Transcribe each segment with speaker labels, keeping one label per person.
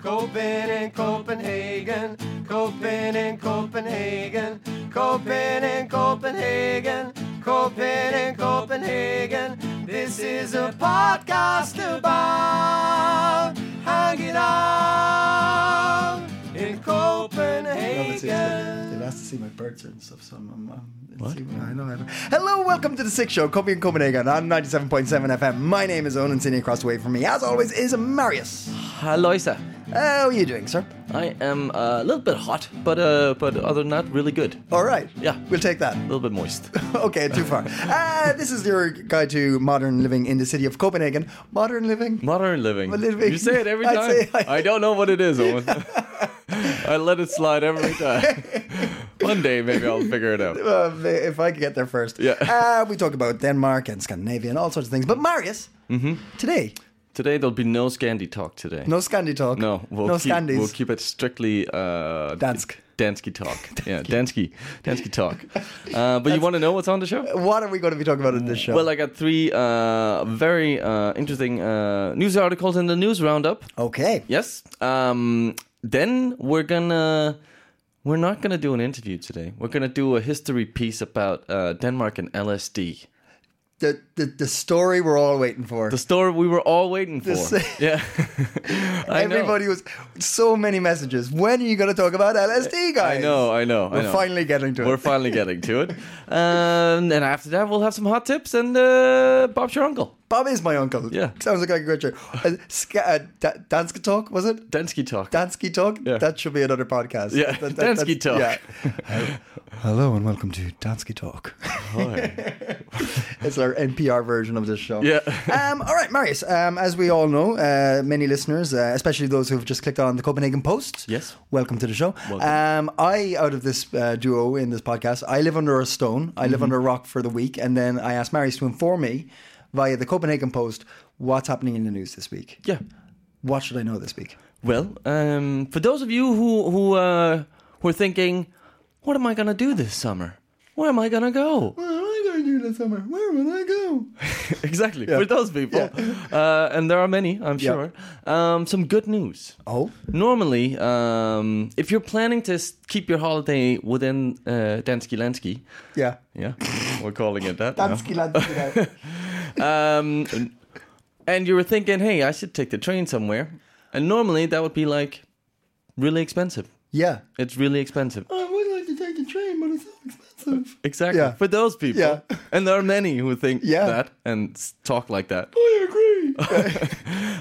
Speaker 1: Copen in Copenhagen, Copen in Copenhagen, Copen in Copenhagen, Copen in Copenhagen. This is a podcast about hanging out in Copenhagen.
Speaker 2: They've asked to see my birds and stuff, so I'm. I'm, I'm what? I know. I know. Hello, welcome to the Sick Show, Copy in Copenhagen on 97.7 FM. My name is Onan Sitting across the way from me, as always, is Marius.
Speaker 3: Aloisa.
Speaker 2: How are you doing, sir?
Speaker 3: I am uh, a little bit hot, but uh, but other than that, really good. A
Speaker 2: All right.
Speaker 3: Yeah.
Speaker 2: We'll take that.
Speaker 3: little bit moist.
Speaker 2: okay, too far. Uh, this is your guide to modern living in the city of Copenhagen. Modern living?
Speaker 3: Modern living.
Speaker 2: living.
Speaker 3: You say it every
Speaker 2: I'd
Speaker 3: time.
Speaker 2: say I-
Speaker 3: I don't know what it is. Owen. I let it slide every time. One day, maybe I'll figure it out.
Speaker 2: Uh, if I could get there first.
Speaker 3: Yeah.
Speaker 2: Uh, we talk about Denmark and Scandinavia and all sorts of things. But Marius,
Speaker 3: Mm-hmm.
Speaker 2: today,
Speaker 3: Today there'll be no Scandi talk today.
Speaker 2: no Scandi talk.
Speaker 3: No, we'll
Speaker 2: no
Speaker 3: keep,
Speaker 2: Scandis.
Speaker 3: We'll keep it strictly uh,
Speaker 2: Dansk.
Speaker 3: Dansky talk. Yeah, Dansky. Dansky talk. Uh, but you want to know what's on the show?
Speaker 2: what are we going to be talking about in this show?
Speaker 3: Well, I got three uh, very uh, interesting uh, news articles in the news roundup.
Speaker 2: okay.
Speaker 3: Yes. Um, then we're gonna we're not gonna do an interview today. We're gonna do a history piece about uh, Denmark and LSD.
Speaker 2: the, the the story we're all waiting for.
Speaker 3: The story we were all waiting for.
Speaker 2: This-
Speaker 3: yeah. I know.
Speaker 2: Everybody was so many messages. When are you going to talk about LSD, guys?
Speaker 3: I know. I know.
Speaker 2: We're finally getting to
Speaker 3: We're
Speaker 2: it.
Speaker 3: finally getting to it. Um, and after that, we'll have some hot tips and uh, Bob's your uncle.
Speaker 2: Bob is my uncle.
Speaker 3: Yeah.
Speaker 2: sounds like a good show. Uh, Ska- uh, Da- Danske talk was it?
Speaker 3: Densky talk.
Speaker 2: Dansky talk.
Speaker 3: Yeah.
Speaker 2: That should be another podcast.
Speaker 3: Yeah, Danske
Speaker 2: that's-
Speaker 3: Talk.
Speaker 2: yeah. Hello and welcome to Dansky Talk. it's our NPR version of this show.
Speaker 3: Yeah.
Speaker 2: um, all right, Marius. Um, as we all know, uh, many listeners, uh, especially those who have just clicked on the Copenhagen Post.
Speaker 3: Yes.
Speaker 2: Welcome to the show.
Speaker 3: Welcome.
Speaker 2: Um, I, out of this uh, duo in this podcast, I live under a stone. I
Speaker 3: Mm-hmm.
Speaker 2: live under a rock for the week, and then I asked Marius to inform me via the Copenhagen Post what's happening in the news this week.
Speaker 3: yeah.
Speaker 2: What should I know this week?
Speaker 3: Well, um, for those of you who who uh, were thinking, what am I gonna do this summer? Where am I gonna go?
Speaker 2: What am I going to do this summer? Where will I go?
Speaker 3: exactly for those people, uh, and there are many, I'm
Speaker 2: Yeah.
Speaker 3: sure. Um, some good news.
Speaker 2: Oh,
Speaker 3: Normally, um, if you're planning to s- keep your holiday within uh, Dansky Lansky,
Speaker 2: yeah.
Speaker 3: yeah, we're calling it that. now.
Speaker 2: Dansky Lansky.
Speaker 3: Um, and you were thinking, hey, I should take the train somewhere, and normally that would be like really expensive.
Speaker 2: yeah.
Speaker 3: It's really expensive.
Speaker 2: I would like to take the train, but it's so expensive.
Speaker 3: Exactly.
Speaker 2: Yeah.
Speaker 3: For those people.
Speaker 2: Yeah.
Speaker 3: And there are many who think
Speaker 2: Yeah.
Speaker 3: that and s- talk like that.
Speaker 2: I agree.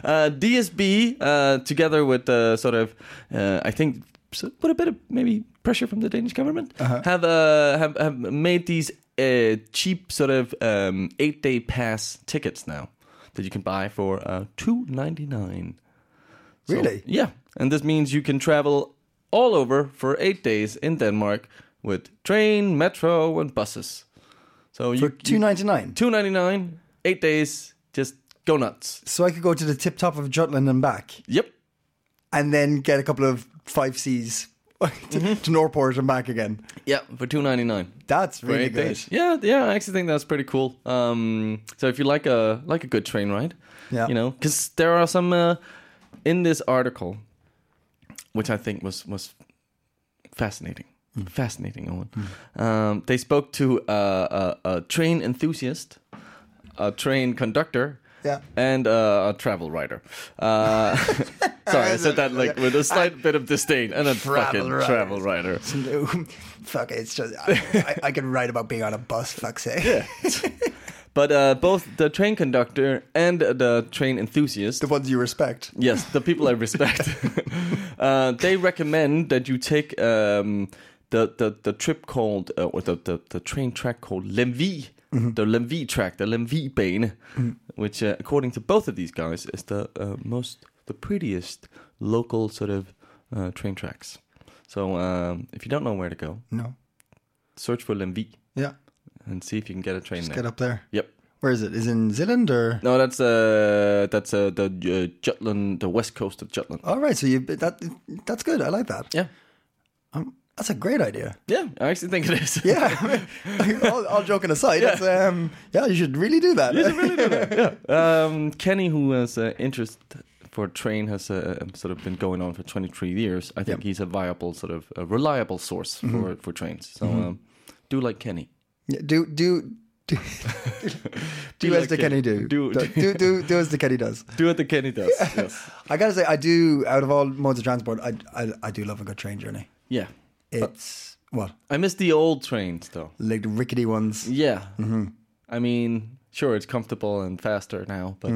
Speaker 3: Uh, DSB, uh, together with uh, sort of, uh, I think, so- put a bit of maybe pressure from the Danish government,
Speaker 2: Uh-huh.
Speaker 3: have, uh, have, have made these uh, cheap sort of um, eight day pass tickets now that you can buy for uh, two ninety nine. So-
Speaker 2: Really?
Speaker 3: yeah. And this means you can travel all over for eight days in Denmark with train, metro, and buses. So
Speaker 2: For
Speaker 3: you
Speaker 2: two ninety nine.
Speaker 3: two ninety nine, eight days, just go nuts.
Speaker 2: So I could go to the tip top of Jutland and back,
Speaker 3: Yep.
Speaker 2: and then get a couple of five C's to, to Norport and back again.
Speaker 3: Yeah, for two ninety nine.
Speaker 2: That's
Speaker 3: For
Speaker 2: really
Speaker 3: eight
Speaker 2: good.
Speaker 3: days. Yeah, yeah. I actually think that's pretty cool. Um, so if you like a like a good train ride,
Speaker 2: Yeah.
Speaker 3: you know, because there are some uh, in this article, which I think was was fascinating,
Speaker 2: Hmm.
Speaker 3: fascinating. Owen. Um, they spoke to uh, a, a train enthusiast, a train conductor.
Speaker 2: Yeah.
Speaker 3: And uh, a travel writer. Uh, sorry, I said that like with a slight bit of disdain. And a fucking
Speaker 2: writers.
Speaker 3: travel writer.
Speaker 2: Fuck it, it's just I, I, I could write about being on a bus. Fuck's sake.
Speaker 3: But uh, both the train conductor and the train enthusiast,
Speaker 2: the ones you respect.
Speaker 3: yes, the people I respect, uh, they recommend that you take um, the, the the trip called
Speaker 2: Mm-hmm.
Speaker 3: uh, or the, the the train track called Lemvi, the Lemvi track, the Lemvi bane, which, uh, according to both of these guys, is the uh, most, the prettiest local sort of uh, train tracks. So um, if you don't know where to go,
Speaker 2: No.
Speaker 3: search for Lemvig
Speaker 2: Yeah.
Speaker 3: and see if you can get a train
Speaker 2: Just
Speaker 3: there.
Speaker 2: get up there.
Speaker 3: Yep.
Speaker 2: Where is it? Is it in Zealand or?
Speaker 3: No, that's uh, that's uh, the uh, Jutland, the west coast of Jutland.
Speaker 2: All right. So you that that's good. I like that.
Speaker 3: Yeah,
Speaker 2: Um, that's a great idea.
Speaker 3: yeah, I actually think it is.
Speaker 2: Yeah. all, all joking aside, yeah. um, yeah, you should really do that.
Speaker 3: Um, Kenny, who has uh, interest for train, has uh, sort of been going on for 23 years. I think
Speaker 2: Yep.
Speaker 3: he's a viable, sort of a reliable source
Speaker 2: Mm-hmm.
Speaker 3: for, for trains. So um, do like Kenny.
Speaker 2: Yeah, do do do, do
Speaker 3: Be
Speaker 2: as
Speaker 3: like
Speaker 2: the Kenny
Speaker 3: Kenny.
Speaker 2: do.
Speaker 3: Do-
Speaker 2: do do do do as the Kenny does.
Speaker 3: Do what the Kenny does. yes.
Speaker 2: I gotta say, I do. Out of all modes of transport, I I, I do love a good train journey.
Speaker 3: Yeah.
Speaker 2: It's what
Speaker 3: I miss the old trains though.
Speaker 2: like the rickety ones.
Speaker 3: Yeah.
Speaker 2: Mm-hmm.
Speaker 3: I mean, sure, it's comfortable and faster now, but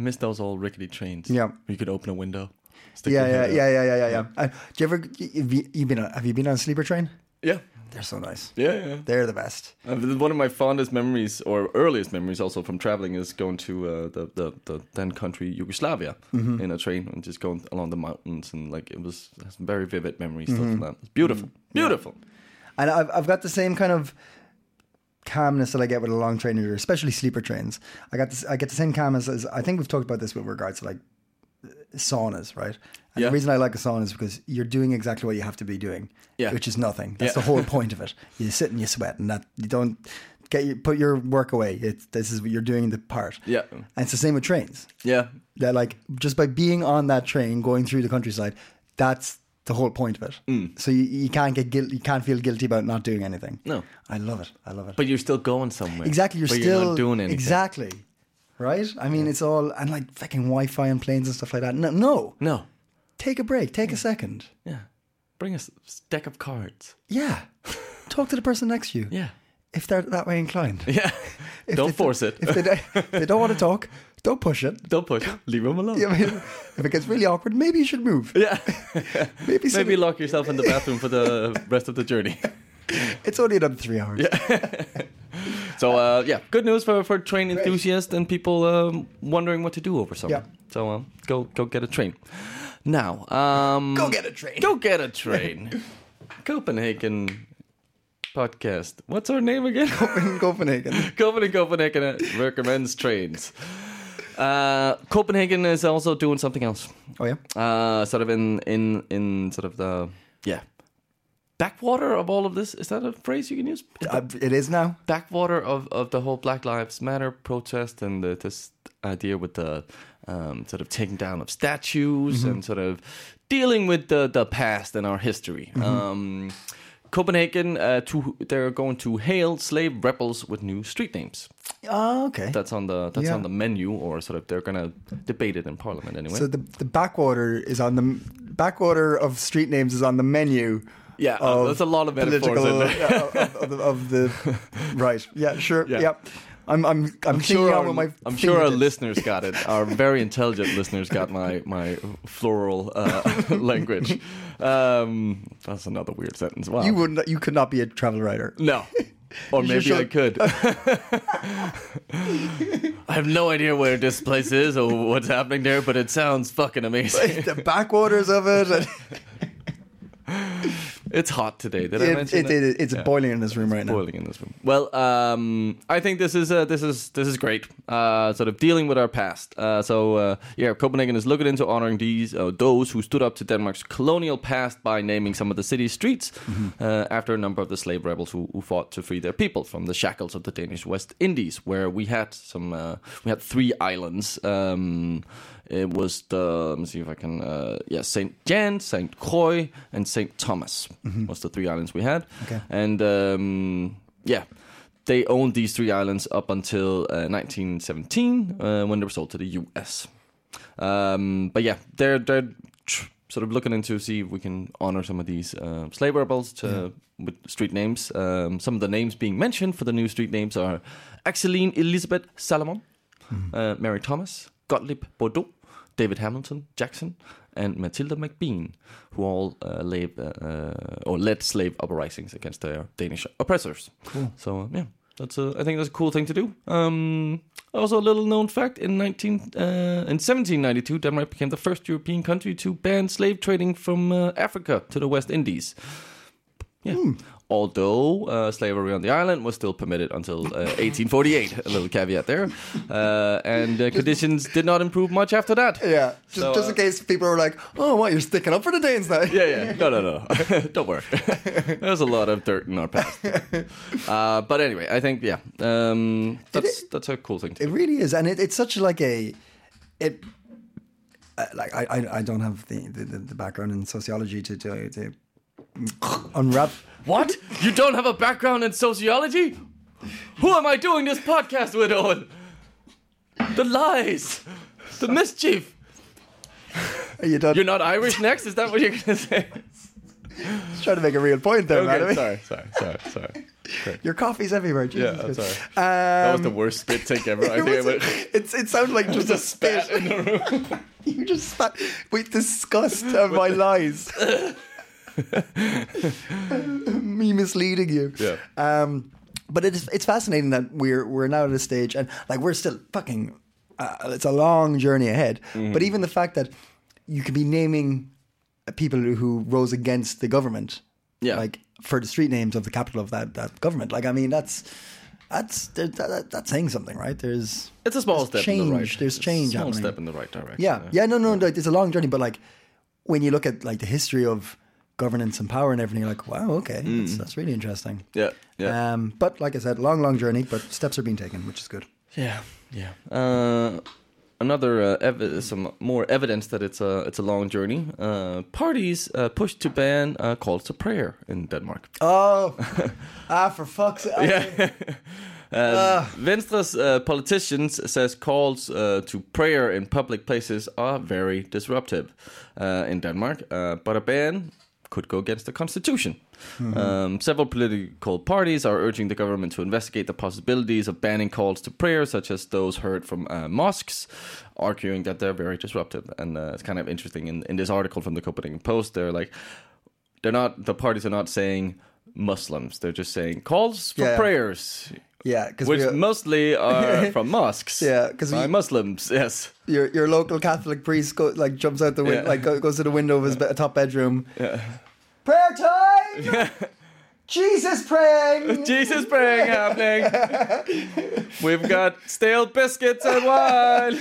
Speaker 3: I miss those old rickety trains.
Speaker 2: Mm-hmm. Yeah.
Speaker 3: Where you could open a window. stick
Speaker 2: Yeah,
Speaker 3: your
Speaker 2: yeah,
Speaker 3: head out.
Speaker 2: yeah, yeah, yeah, yeah. yeah. Uh, do you ever have you, you been on, have you been on a sleeper train?
Speaker 3: Yeah.
Speaker 2: They're so nice.
Speaker 3: Yeah, yeah.
Speaker 2: They're the best.
Speaker 3: Uh, th- One of my fondest memories, or earliest memories, also from traveling, is going to uh, the, the the then country Yugoslavia
Speaker 2: Mm-hmm.
Speaker 3: in a train and just going along the mountains and like it was has very vivid memories stuff
Speaker 2: Mm-hmm.
Speaker 3: from that. It's beautiful, beautiful.
Speaker 2: And I've I've got the same kind of calmness that I get with a long train, or especially sleeper trains. I got this. I get the same calmness as I think we've talked about this with regards to like saunas, right? And
Speaker 3: Yeah.
Speaker 2: the reason I like a sauna is because you're doing exactly what you have to be doing,
Speaker 3: Yeah.
Speaker 2: which is nothing. That's
Speaker 3: Yeah.
Speaker 2: the whole point of it. You sit and you sweat, and that you don't get you put your work away. It's this is what you're doing the part.
Speaker 3: Yeah.
Speaker 2: and it's the same with trains.
Speaker 3: Yeah,
Speaker 2: That like just by being on that train going through the countryside, that's the whole point of it.
Speaker 3: Mm.
Speaker 2: So you, you can't get guilt, you can't feel guilty about not doing anything.
Speaker 3: No.
Speaker 2: I love it. I love it.
Speaker 3: but you're still going somewhere.
Speaker 2: exactly, you're
Speaker 3: but
Speaker 2: still
Speaker 3: not doing anything.
Speaker 2: Exactly, right? I mean, it's all and like fucking Wi-Fi and planes and stuff like that. No, no,
Speaker 3: No.
Speaker 2: take a break, take a second.
Speaker 3: Yeah. Bring us a deck of cards.
Speaker 2: Yeah, talk to the person next to you.
Speaker 3: Yeah.
Speaker 2: if they're that way inclined.
Speaker 3: Yeah.
Speaker 2: If
Speaker 3: don't
Speaker 2: they-
Speaker 3: force it.
Speaker 2: If they, don't- if they don't want to talk, don't push it.
Speaker 3: don't push. it. Leave them alone.
Speaker 2: I mean, if it gets really awkward, maybe you should move.
Speaker 3: Yeah.
Speaker 2: Maybe, sit-
Speaker 3: Maybe lock yourself in the bathroom for the rest of the journey.
Speaker 2: it's only another three hours.
Speaker 3: So uh, yeah, good news for, for train enthusiasts and people um, wondering what to do over summer.
Speaker 2: Yeah.
Speaker 3: So um, go go get a train. Now, um,
Speaker 2: Go get a train.
Speaker 3: go get a train. Copenhagen podcast. What's our name again?
Speaker 2: in Copenhagen.
Speaker 3: Copenhagen Copenhagen uh, recommends trains. Uh, Copenhagen is also doing something else.
Speaker 2: Oh yeah,
Speaker 3: Uh, sort of in in in sort of the yeah backwater of all of this. Is that a phrase you can use?
Speaker 2: uh, it is now.
Speaker 3: backwater of, of the whole Black Lives Matter protest and the, this idea with the um, sort of taking down of statues
Speaker 2: Mm-hmm.
Speaker 3: and sort of dealing with the, the past and our history.
Speaker 2: Mm-hmm.
Speaker 3: Um, Copenhagen, uh, to, they're going to hail slave rebels with new street names.
Speaker 2: Oh, okay.
Speaker 3: That's on the that's
Speaker 2: Yeah.
Speaker 3: on the menu, or sort of they're gonna debate it in Parliament anyway.
Speaker 2: so the the backwater is on the backwater of street names is on the menu.
Speaker 3: Yeah, uh,
Speaker 2: of
Speaker 3: there's a lot of metaphors in
Speaker 2: political-
Speaker 3: there.
Speaker 2: yeah, of, of, the- of the right. Yeah, sure.
Speaker 3: Yeah.
Speaker 2: Yeah. I'm I'm I'm, sure
Speaker 3: our,
Speaker 2: with my
Speaker 3: I'm sure our
Speaker 2: fingertips.
Speaker 3: listeners got it. Our very intelligent listeners got my my floral uh, language. Um, that's another weird sentence. Wow.
Speaker 2: You would not, you could not be a travel writer.
Speaker 3: no. Or
Speaker 2: You
Speaker 3: maybe
Speaker 2: should-
Speaker 3: I could. I have no idea where this place is or what's happening there, but it sounds fucking amazing.
Speaker 2: the backwaters of it. and
Speaker 3: It's hot today. Did I
Speaker 2: it,
Speaker 3: mention
Speaker 2: it,
Speaker 3: that?
Speaker 2: it- it's boiling in this room right now.
Speaker 3: boiling in this room. Well, um, I think this is uh, this is this is great. Uh, sort of dealing with our past. Uh, so uh, yeah, Copenhagen is looking into honoring these uh, those who stood up to Denmark's colonial past by naming some of the city's streets
Speaker 2: Mm-hmm.
Speaker 3: uh, after a number of the slave rebels who, who fought to free their people from the shackles of the Danish West Indies, where we had some uh, we had three islands. Um, it was the let me see if I can uh, yeah Saint Jan, Saint Croix, and Saint Thomas
Speaker 2: Mm-hmm.
Speaker 3: was the three islands we had.
Speaker 2: Okay.
Speaker 3: And um, yeah, they owned these three islands up until uh, 1917 uh, when they were sold to the U.S. Um, but yeah, they're they're tr- sort of looking into see if we can honor some of these uh, slave rebels to with street names. Um, some of the names being mentioned for the new street names are Axeline Elizabeth Salomon, uh, Mary Thomas, Gottlieb Bordeaux, David Hamilton Jackson, and Matilda McBean, who all uh, lab, uh, or led slave uprisings against their Danish oppressors. So uh, yeah, That's a, I think that's a cool thing to do. Um, also, a little known fact: in 19 uh, in 1792, Denmark became the first European country to ban slave trading from uh, Africa to the West Indies. Yeah. Hmm. Although uh, slavery on the island was still permitted until uh, 1848, a little caveat there, uh, and uh, conditions did not improve much after that.
Speaker 2: Yeah, just, just
Speaker 3: uh,
Speaker 2: in case people were like, "Oh, what? You're sticking up for the Danes now?"
Speaker 3: yeah, yeah. No, no, no. Don't worry. There's a lot of dirt in our past. Uh, but anyway, I think yeah, um, that's that's a cool thing. To
Speaker 2: It really is, and it, it's such like a it. uh, Like I, I, I don't have the, the, the- the background in sociology to to, to unwrap.
Speaker 3: What? You don't have a background in sociology? Who am I doing this podcast with, Owen? The lies, the mischief.
Speaker 2: You don't.
Speaker 3: You're not Irish next? Is that what you're gonna say?
Speaker 2: trying to make a real point there, man. I mean,
Speaker 3: sorry, sorry, sorry, sorry.
Speaker 2: Your coffee's everywhere. Jesus
Speaker 3: Yeah, I'm
Speaker 2: Christ.
Speaker 3: sorry.
Speaker 2: Um,
Speaker 3: that was the worst spit take ever. I
Speaker 2: It,
Speaker 3: think I
Speaker 2: was,
Speaker 3: went,
Speaker 2: it's, it sounded like just a spit.
Speaker 3: in the room.
Speaker 2: You just spat with disgust of my lies. Me misleading you.
Speaker 3: Yeah.
Speaker 2: Um, but it's it's fascinating that we're we're now at a stage and like we're still fucking. Uh, it's a long journey ahead.
Speaker 3: Mm-hmm.
Speaker 2: But even the fact that you could be naming people who rose against the government,
Speaker 3: Yeah.
Speaker 2: like for the street names of the capital of that that government. Like I mean, that's that's that, that, that's saying something, right? There's
Speaker 3: It's a small step
Speaker 2: there's
Speaker 3: in the
Speaker 2: change.
Speaker 3: right.
Speaker 2: There's
Speaker 3: It's
Speaker 2: change
Speaker 3: a small
Speaker 2: happening.
Speaker 3: step in the right direction.
Speaker 2: Yeah, yeah, no, no, like, it's a long journey, but like when you look at like the history of governance and power and everything, you're like, wow, okay, that's, that's really interesting.
Speaker 3: Mm. Yeah, yeah.
Speaker 2: Um, but like I said, long, long journey, but steps are being taken, which is good.
Speaker 3: Yeah, yeah. Uh, another uh, ev- some more evidence that it's a it's a long journey. Uh, parties uh, pushed to ban uh, calls to prayer in Denmark.
Speaker 2: Oh, ah, for fuck's sake!
Speaker 3: Uh, Venstre's uh, politicians says calls uh, to prayer in public places are very disruptive uh, in Denmark, uh, but a ban could go against the constitution. Um, several political parties are urging the government to investigate the possibilities of banning calls to prayer, such as those heard from uh, mosques, arguing that they're very disruptive. And uh, it's kind of interesting in, in this article from the Copenhagen Post. They're like, they're not the parties are not saying Muslims. They're just saying calls for
Speaker 2: Yeah.
Speaker 3: prayers,
Speaker 2: Yeah, because
Speaker 3: which mostly are from mosques.
Speaker 2: Yeah, 'cause
Speaker 3: by
Speaker 2: we-
Speaker 3: Muslims. Yes,
Speaker 2: your your local Catholic priest go, like jumps out the win-
Speaker 3: Yeah.
Speaker 2: like go, goes to the window of his be- top bedroom. Prayer time. Jesus praying.
Speaker 3: Jesus praying happening. We've got stale biscuits and wine.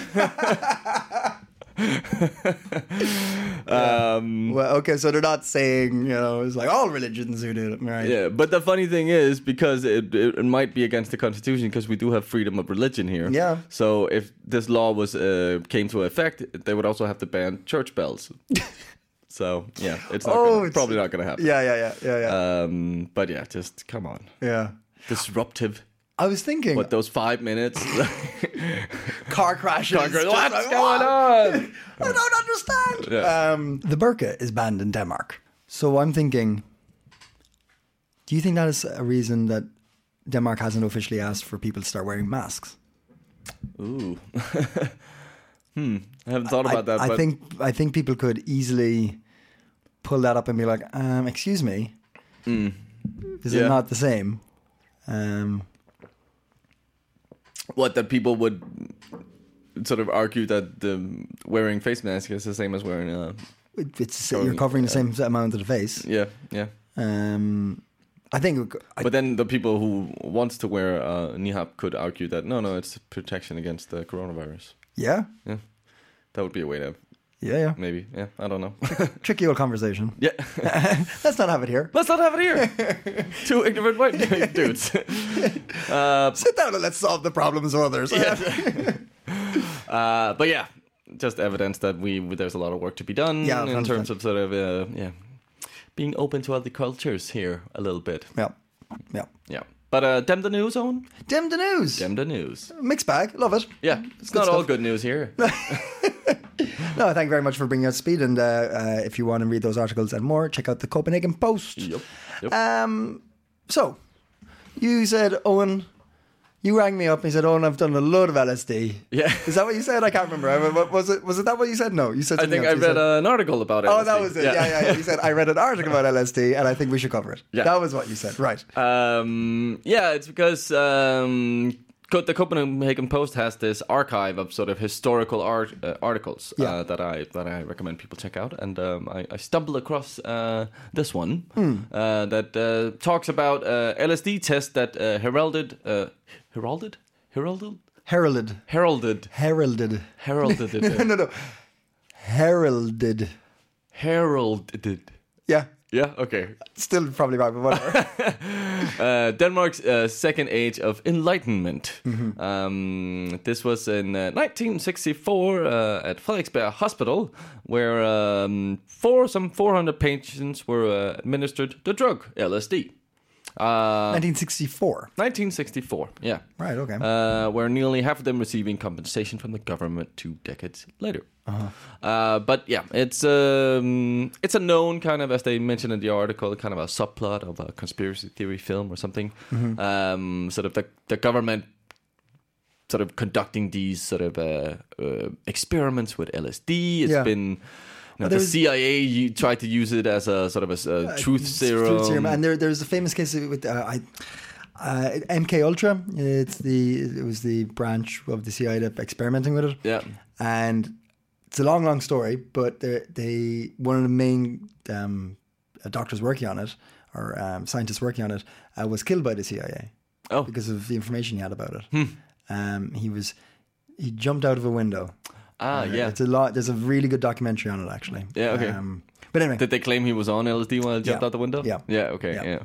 Speaker 3: um,
Speaker 2: well, okay, so they're not saying you know it's like all religions who do it, right?
Speaker 3: Yeah, but the funny thing is because it it, it might be against the constitution because we do have freedom of religion here.
Speaker 2: Yeah.
Speaker 3: So if this law was uh, came to effect, they would also have to ban church bells. so yeah, it's not
Speaker 2: Oh,
Speaker 3: gonna-
Speaker 2: it's-
Speaker 3: probably not going to happen.
Speaker 2: yeah, yeah, yeah, yeah, yeah.
Speaker 3: Um, but yeah, just come on,
Speaker 2: yeah.
Speaker 3: disruptive.
Speaker 2: I was thinking
Speaker 3: But those five minutes,
Speaker 2: car crashes.
Speaker 3: What's
Speaker 2: just like,
Speaker 3: going
Speaker 2: "What?
Speaker 3: on?
Speaker 2: I don't understand.
Speaker 3: Yeah.
Speaker 2: Um, the burqa is banned in Denmark, so I'm thinking. Do you think that is a reason that Denmark hasn't officially asked for people to start wearing masks?
Speaker 3: Ooh. hmm. I haven't thought about
Speaker 2: I,
Speaker 3: that.
Speaker 2: I
Speaker 3: but
Speaker 2: think I think people could easily pull that up and be like, um, "Excuse me, is
Speaker 3: Hmm. Yeah.
Speaker 2: it not the same?" Um,
Speaker 3: what that people would sort of argue that the wearing face mask is the same as wearing a
Speaker 2: it- it's
Speaker 3: Going-
Speaker 2: you're covering the same amount of the face.
Speaker 3: yeah yeah.
Speaker 2: Um, I think. it could- I,
Speaker 3: But then the people who wants to wear uh, nihab could argue that no no it's protection against the coronavirus.
Speaker 2: yeah.
Speaker 3: Yeah, that would be a way to
Speaker 2: Yeah, yeah.
Speaker 3: maybe yeah I don't know.
Speaker 2: Tricky old conversation.
Speaker 3: yeah,
Speaker 2: Let's not have it here.
Speaker 3: let's not have it here. Two ignorant white dudes. uh,
Speaker 2: Sit down and let's solve the problems of others.
Speaker 3: Uh, but yeah, just evidence that we there's a lot of work to be done
Speaker 2: Yeah,
Speaker 3: in
Speaker 2: 100%.
Speaker 3: terms of sort of uh, yeah being open to other cultures here a little bit.
Speaker 2: yeah. Yeah.
Speaker 3: Yeah, but uh, dem the news on
Speaker 2: Dim the news.
Speaker 3: dem the news.
Speaker 2: Mixed bag. Love it.
Speaker 3: Yeah, it's not all good news here.
Speaker 2: No, thank you very much for bringing us speed. And uh, uh, if you want to read those articles and more, check out the Copenhagen Post.
Speaker 3: Yep, yep.
Speaker 2: Um, so, you said, Owen, You rang me up and you said, "Oh, and I've done a load of LSD."
Speaker 3: Yeah.
Speaker 2: is that what you said? I can't remember. I- What was it? Was it that what you said? No, you said.
Speaker 3: I
Speaker 2: something
Speaker 3: think I
Speaker 2: else. You
Speaker 3: read
Speaker 2: said-
Speaker 3: an article about it.
Speaker 2: Oh, that was it. Yeah. yeah, yeah. You said I read an article about LSD, and I think we should cover it.
Speaker 3: Yeah.
Speaker 2: that was what you said. Right.
Speaker 3: Um, yeah, it's because um, Co- the Copenhagen Post has this archive of sort of historical art, uh, articles
Speaker 2: Yeah.
Speaker 3: uh, that I that I recommend people check out, and um, I, I stumbled across uh, this one
Speaker 2: Hmm.
Speaker 3: uh, that uh, talks about uh, LSD test that uh, heralded uh, heralded heralded
Speaker 2: Heralded.
Speaker 3: heralded
Speaker 2: Heralded.
Speaker 3: heralded it,
Speaker 2: No,
Speaker 3: uh,
Speaker 2: no, no. Heralded.
Speaker 3: heralded.
Speaker 2: Yeah,
Speaker 3: Yeah. Okay.
Speaker 2: still probably right, but whatever.
Speaker 3: uh, Denmark's uh, second age of enlightenment. Um, this was in uh, 1964 uh, at Frederiksberg Hospital, where um, four some 400 patients were uh, administered the drug LSD. Uh,
Speaker 2: 1964.
Speaker 3: 1964, yeah.
Speaker 2: Right. Okay.
Speaker 3: Uh, where nearly half of them receiving compensation from the government two decades later. uh but yeah, it's um, it's a known kind of, as they mentioned in the article, kind of a subplot of a conspiracy theory film or something. Um, sort of the the government sort of conducting these sort of uh, uh, experiments with LSD. It's
Speaker 2: Yeah.
Speaker 3: been. You know, the
Speaker 2: there's-
Speaker 3: CIA you tried to use it as a sort of a, s- a truth serum.
Speaker 2: Uh, Truth serum. And there, there's a famous case with uh, I, uh, MK Ultra. It's the it was the branch of the CIA that experimenting with it.
Speaker 3: Yeah.
Speaker 2: and it's a long, long story. But they, they one of the main um, uh, doctors working on it or um, scientists working on it uh, was killed by the CIA
Speaker 3: Oh. Hmm.
Speaker 2: because of the information he had about it. Um, he was he jumped out of a window.
Speaker 3: ah, yeah.
Speaker 2: It's a lot. There's a really good documentary on it, actually.
Speaker 3: Yeah, okay.
Speaker 2: Um, but anyway,
Speaker 3: Did they claim he was on LSD while he jumped
Speaker 2: Yeah.
Speaker 3: out the window?
Speaker 2: Yeah.
Speaker 3: Yeah, okay, yeah.
Speaker 2: Yeah.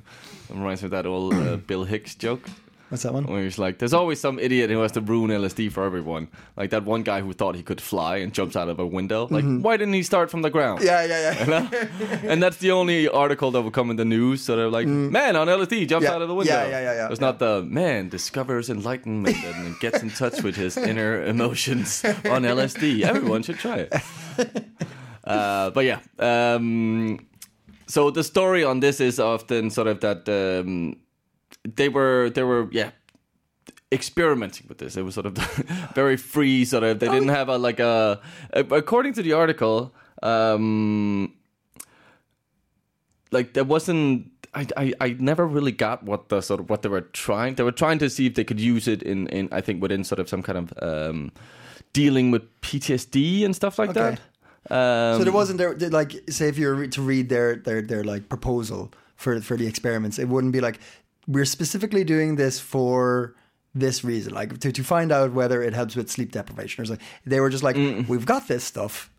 Speaker 3: It reminds me of that old uh, Bill Hicks joke
Speaker 2: what's that one?
Speaker 3: where he's like, there's always some idiot who has to ruin LSD for everyone. Like that one guy who thought he could fly and jumps out of a window. Like,
Speaker 2: Mm-hmm.
Speaker 3: why didn't he start from the ground?
Speaker 2: Yeah, yeah, yeah.
Speaker 3: and that's the only article that will come in the news. So they're like, man on LSD jumps
Speaker 2: Mm. Yeah.
Speaker 3: out of the window.
Speaker 2: Yeah, yeah, yeah, yeah.
Speaker 3: It's not the man discovers enlightenment and gets in touch with his inner emotions on LSD. Everyone should try it. Uh, but yeah. Um, so the story on this is often sort of that um, they were they were yeah experimenting with this. It was sort of very free, sort of. They
Speaker 2: Oh,
Speaker 3: didn't have a like a. According to the article, um, like there wasn't. I, I, I never really got what the sort of what they were trying. They were trying to see if they could use it in, in I think within sort of some kind of um, dealing with PTSD and stuff like
Speaker 2: Okay.
Speaker 3: that. Um,
Speaker 2: So there wasn't there there, like say if you were re- to read their their their like proposal for for the experiments, it wouldn't be like we're specifically doing this for this reason, like to to find out whether it helps with sleep deprivation or something. They were just like,
Speaker 3: Mm.
Speaker 2: we've got this stuff.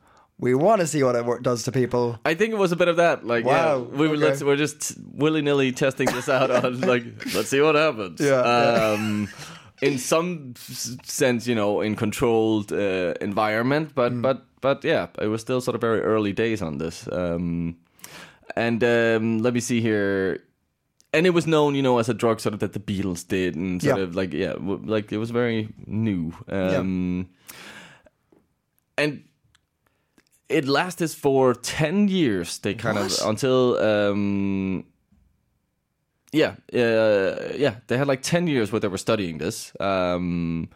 Speaker 2: We want to see what it wor- does to people.
Speaker 3: I think it was a bit of that. Like, yeah,
Speaker 2: Wow,
Speaker 3: we were
Speaker 2: okay.
Speaker 3: let's, we're just willy nilly testing this out on like, let's see what happens.
Speaker 2: Yeah, yeah.
Speaker 3: Um, in some s- sense, you know, in controlled uh, environment, but
Speaker 2: Hmm.
Speaker 3: but but yeah, it was still sort of very early days on this. Um, and um, let me see here. And it was known, you know, as a drug sort of that the Beatles did, and sort
Speaker 2: Yeah.
Speaker 3: of like yeah, w- like it was very new. Um, And it lasted for 10 years they kind of until um yeah uh, yeah they had like 10 years where they were studying this um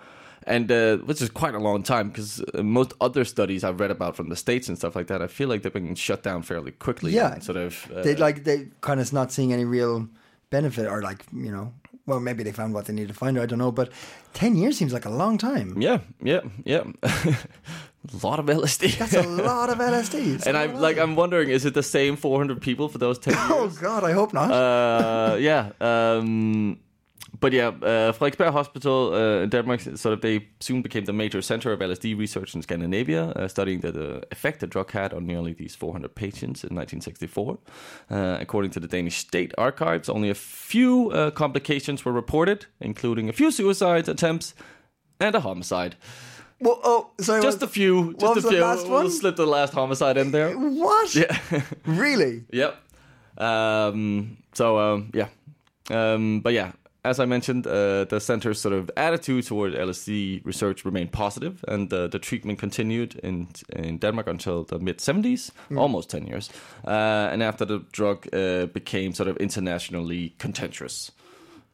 Speaker 3: and uh, which is quite a long time because most other studies I've read about from the states and stuff like that, I feel like they've been shut down fairly quickly.
Speaker 2: Yeah.
Speaker 3: and sort of. Uh,
Speaker 2: They like they kind of not seeing any real benefit or like you know. Well, maybe they found what they needed to find. I don't know, but ten years seems like a long time.
Speaker 3: yeah, yeah, yeah. a lot of LSD.
Speaker 2: That's a lot of LSDs.
Speaker 3: and I'm like, I'm wondering, is it the same 400 people for those 10 years?
Speaker 2: oh god, I hope not.
Speaker 3: uh, yeah. Um, but yeah, uh, Frederiksberg Hospital uh, in Denmark, sort of, they soon became the major center of LSD research in Scandinavia, uh, studying the, the effect the drug had on nearly these 400 patients in 1964. Uh, according to the Danish state archives, only a few uh, complications were reported, including a few suicide attempts and a homicide.
Speaker 2: well, oh, sorry.
Speaker 3: Just a
Speaker 2: what-
Speaker 3: few. Just
Speaker 2: what was
Speaker 3: a few.
Speaker 2: the last one?
Speaker 3: We'll slip the last homicide in there.
Speaker 2: What? Yeah. really?
Speaker 3: Yep. Um, so um, yeah, um, but yeah, as I mentioned, uh, the center's sort of attitude toward LSD research remained positive, and uh, the treatment continued in in Denmark until the mid '70s, almost 10 years, uh, and after the drug uh, became sort of internationally contentious.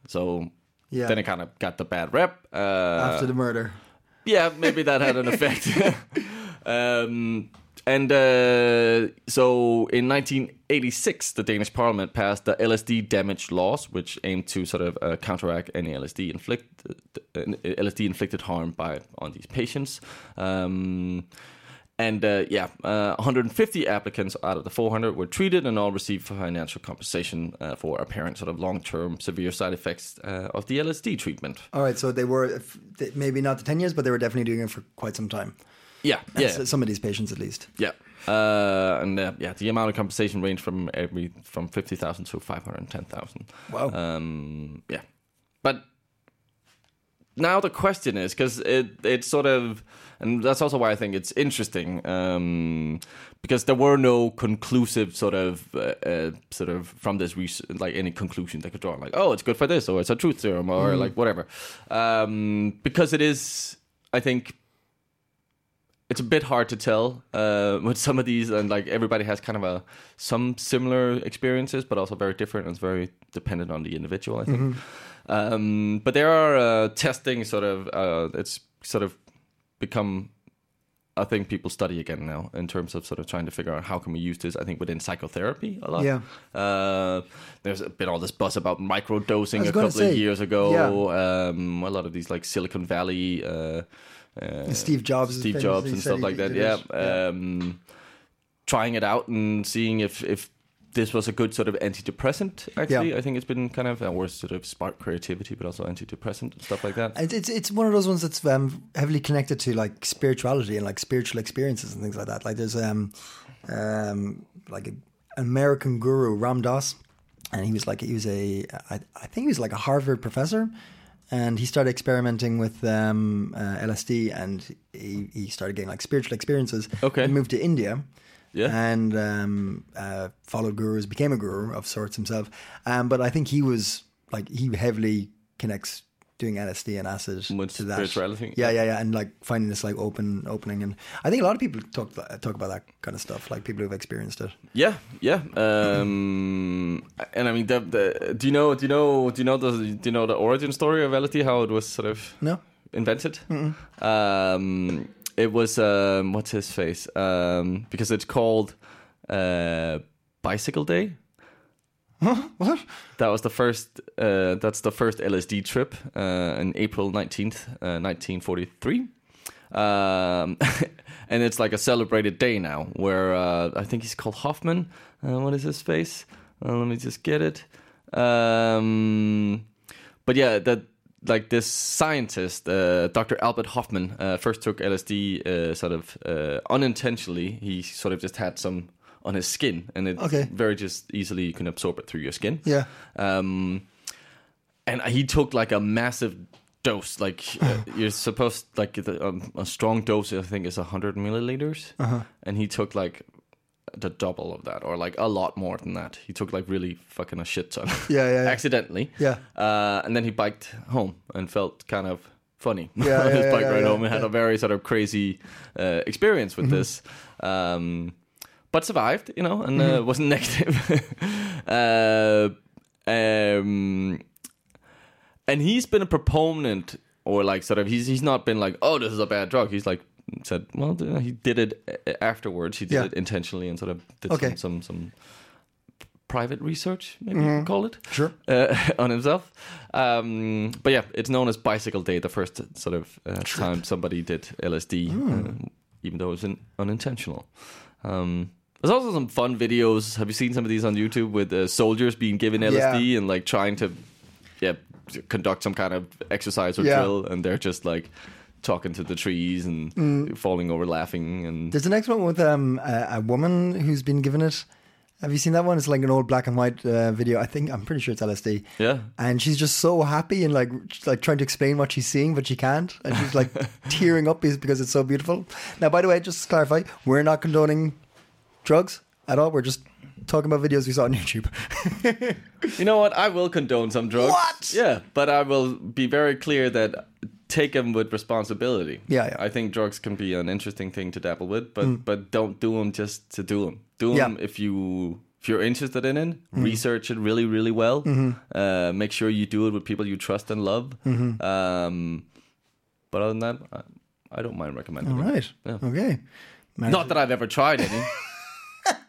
Speaker 3: So
Speaker 2: Yeah.
Speaker 3: Then it kind of got the bad rep. Uh,
Speaker 2: after the murder.
Speaker 3: yeah, maybe that had an effect. um, and uh, so in 1986, the Danish parliament passed the LSD damage laws, which aimed to sort of uh, counteract any LSD, inflict, uh, LSD inflicted harm by on these patients. Um, and uh, yeah, uh, 150 applicants out of the 400 were treated and all received financial compensation uh, for apparent sort of long term severe side effects uh, of the LSD treatment.
Speaker 2: All right, so they were if- they- maybe not the ten years, but they were definitely doing it for quite some time.
Speaker 3: Yeah, yeah.
Speaker 2: S- some of these patients, at least.
Speaker 3: Yeah. Uh, and uh, yeah, the amount of compensation ranged from every from fifty thousand to five hundred ten thousand.
Speaker 2: Wow.
Speaker 3: Um, yeah, but now the question is because it it's sort of, and that's also why I think it's interesting um, because there were no conclusive sort of uh, uh, sort of from this research like any conclusion they could draw like oh it's good for this or it's a truth serum or like whatever um, because it is I think it's a bit hard to tell uh, with some of these, and like everybody has kind of a some similar experiences, but also very different. And it's very dependent on the individual, I think.
Speaker 2: Mm-hmm.
Speaker 3: Um, but there are uh, testing sort of uh, it's sort of become I think people study again now in terms of sort of trying to figure out how can we use this. I think within psychotherapy a lot.
Speaker 2: Yeah.
Speaker 3: Uh, there's been all this buzz about microdosing
Speaker 2: was
Speaker 3: a
Speaker 2: gonna
Speaker 3: couple
Speaker 2: say,
Speaker 3: of years ago.
Speaker 2: yeah.
Speaker 3: Um, a lot of these like Silicon Valley. Uh, uh,
Speaker 2: Steve Jobs is
Speaker 3: Steve
Speaker 2: famous.
Speaker 3: Jobs
Speaker 2: He
Speaker 3: and
Speaker 2: said
Speaker 3: stuff
Speaker 2: he
Speaker 3: like that.
Speaker 2: did
Speaker 3: Yeah.
Speaker 2: it. Yeah.
Speaker 3: Um, trying it out and seeing if if this was a good sort of antidepressant. Actually,
Speaker 2: Yeah.
Speaker 3: I think it's been kind of uh, or sort of spark creativity, but also antidepressant and stuff like that.
Speaker 2: It's, it's it's one of those ones that's um, heavily connected to like spirituality and like spiritual experiences and things like that. Like there's um, um like an American guru Ram Dass, and he was like he was a I, I think he was like a Harvard professor, and he started experimenting with um, uh, LSD and he, he started getting like spiritual experiences.
Speaker 3: Okay.
Speaker 2: and moved to India.
Speaker 3: Yeah.
Speaker 2: and um, uh, followed gurus, became a guru of sorts himself. Um, but I think he was like he heavily connects doing LSD and acid
Speaker 3: With
Speaker 2: to that
Speaker 3: spirituality?
Speaker 2: Yeah, yeah, yeah, and like finding this like open opening. And I think a lot of people talk talk about that kind of stuff, like people who've experienced it.
Speaker 3: Yeah, yeah. Um, and I mean, the, the, do you know? Do you know? Do you know the? Do you know the origin story of LSD? How it was sort of
Speaker 2: No.
Speaker 3: invented? Um, it was um, what's his face? Um, because it's called uh, Bicycle Day.
Speaker 2: What?
Speaker 3: That was the first. Uh, that's the first LSD trip uh, in April nineteenth, uh, nineteen forty three. Um, and it's like a celebrated day now, where uh, I think he's called Hoffman. Uh, what is his face? Uh, let me just get it. Um, but yeah, that like this scientist, uh, Dr. Albert Hoffman, uh, first took LSD uh, sort of uh, unintentionally. He sort of just had some on his skin, and it
Speaker 2: Okay.
Speaker 3: very just easily you can absorb it through your skin.
Speaker 2: Yeah.
Speaker 3: Um, and he took like a massive dose. Like uh, you're supposed like the, um, a strong dose. I think is hundred milliliters,
Speaker 2: Uh-huh.
Speaker 3: and he took like the double of that, or like a lot more than that. He took like really fucking a shit ton.
Speaker 2: Yeah, yeah, yeah.
Speaker 3: accidentally.
Speaker 2: Yeah.
Speaker 3: uh, and then he biked home and felt kind of funny
Speaker 2: Yeah,
Speaker 3: on his
Speaker 2: yeah,
Speaker 3: bike
Speaker 2: yeah, yeah,
Speaker 3: ride
Speaker 2: Mm-hmm.
Speaker 3: home and had a very sort of crazy uh, experience with this. Um, but survived, you know, and
Speaker 2: Mm-hmm.
Speaker 3: uh, wasn't negative. uh, um, and he's been a proponent, or like sort of, he's he's not been like, oh, this is a bad drug. He's like said, well, you know, he did it a- afterwards. He did
Speaker 2: Yeah.
Speaker 3: it intentionally and sort of did
Speaker 2: Okay.
Speaker 3: some, some some private research, maybe
Speaker 2: Mm-hmm.
Speaker 3: you can call it
Speaker 2: Sure.
Speaker 3: uh, on himself. Um, but yeah, it's known as Bicycle Day, the first sort of uh, time somebody did LSD,
Speaker 2: Hmm.
Speaker 3: uh, even though it was in, unintentional. Um, there's also some fun videos. Have you seen some of these on YouTube with uh, soldiers being given LSD and like trying to, yeah, conduct some kind of exercise or
Speaker 2: Yeah.
Speaker 3: drill, and they're just like talking to the trees and falling over laughing and
Speaker 2: There's Mm. the next one with um, a, a woman who's been given it. Have you seen that one? It's like an old black and white uh, video. I think I'm pretty sure it's LSD.
Speaker 3: Yeah.
Speaker 2: And she's just so happy and like she's, like trying to explain what she's seeing, but she can't, and she's like tearing up because- because it's so beautiful. Now, by the way, just to clarify, we're not condoning drugs at all. We're just talking about videos we saw on YouTube.
Speaker 3: You know what? I will condone some drugs.
Speaker 2: What?
Speaker 3: Yeah, but I will be very clear that take them with responsibility.
Speaker 2: Yeah, yeah. Mm.
Speaker 3: I think drugs can be an interesting thing to dabble with, but but don't do them just to do them. Do them
Speaker 2: Yeah. Mm-hmm.
Speaker 3: if you If you're interested in it, research it really, really well. Uh, make sure you do it with people you trust and love.
Speaker 2: Mm-hmm.
Speaker 3: Um, but other than that, I, I don't mind recommending
Speaker 2: All
Speaker 3: it.
Speaker 2: right. Okay. Man,
Speaker 3: Not that I've ever tried any.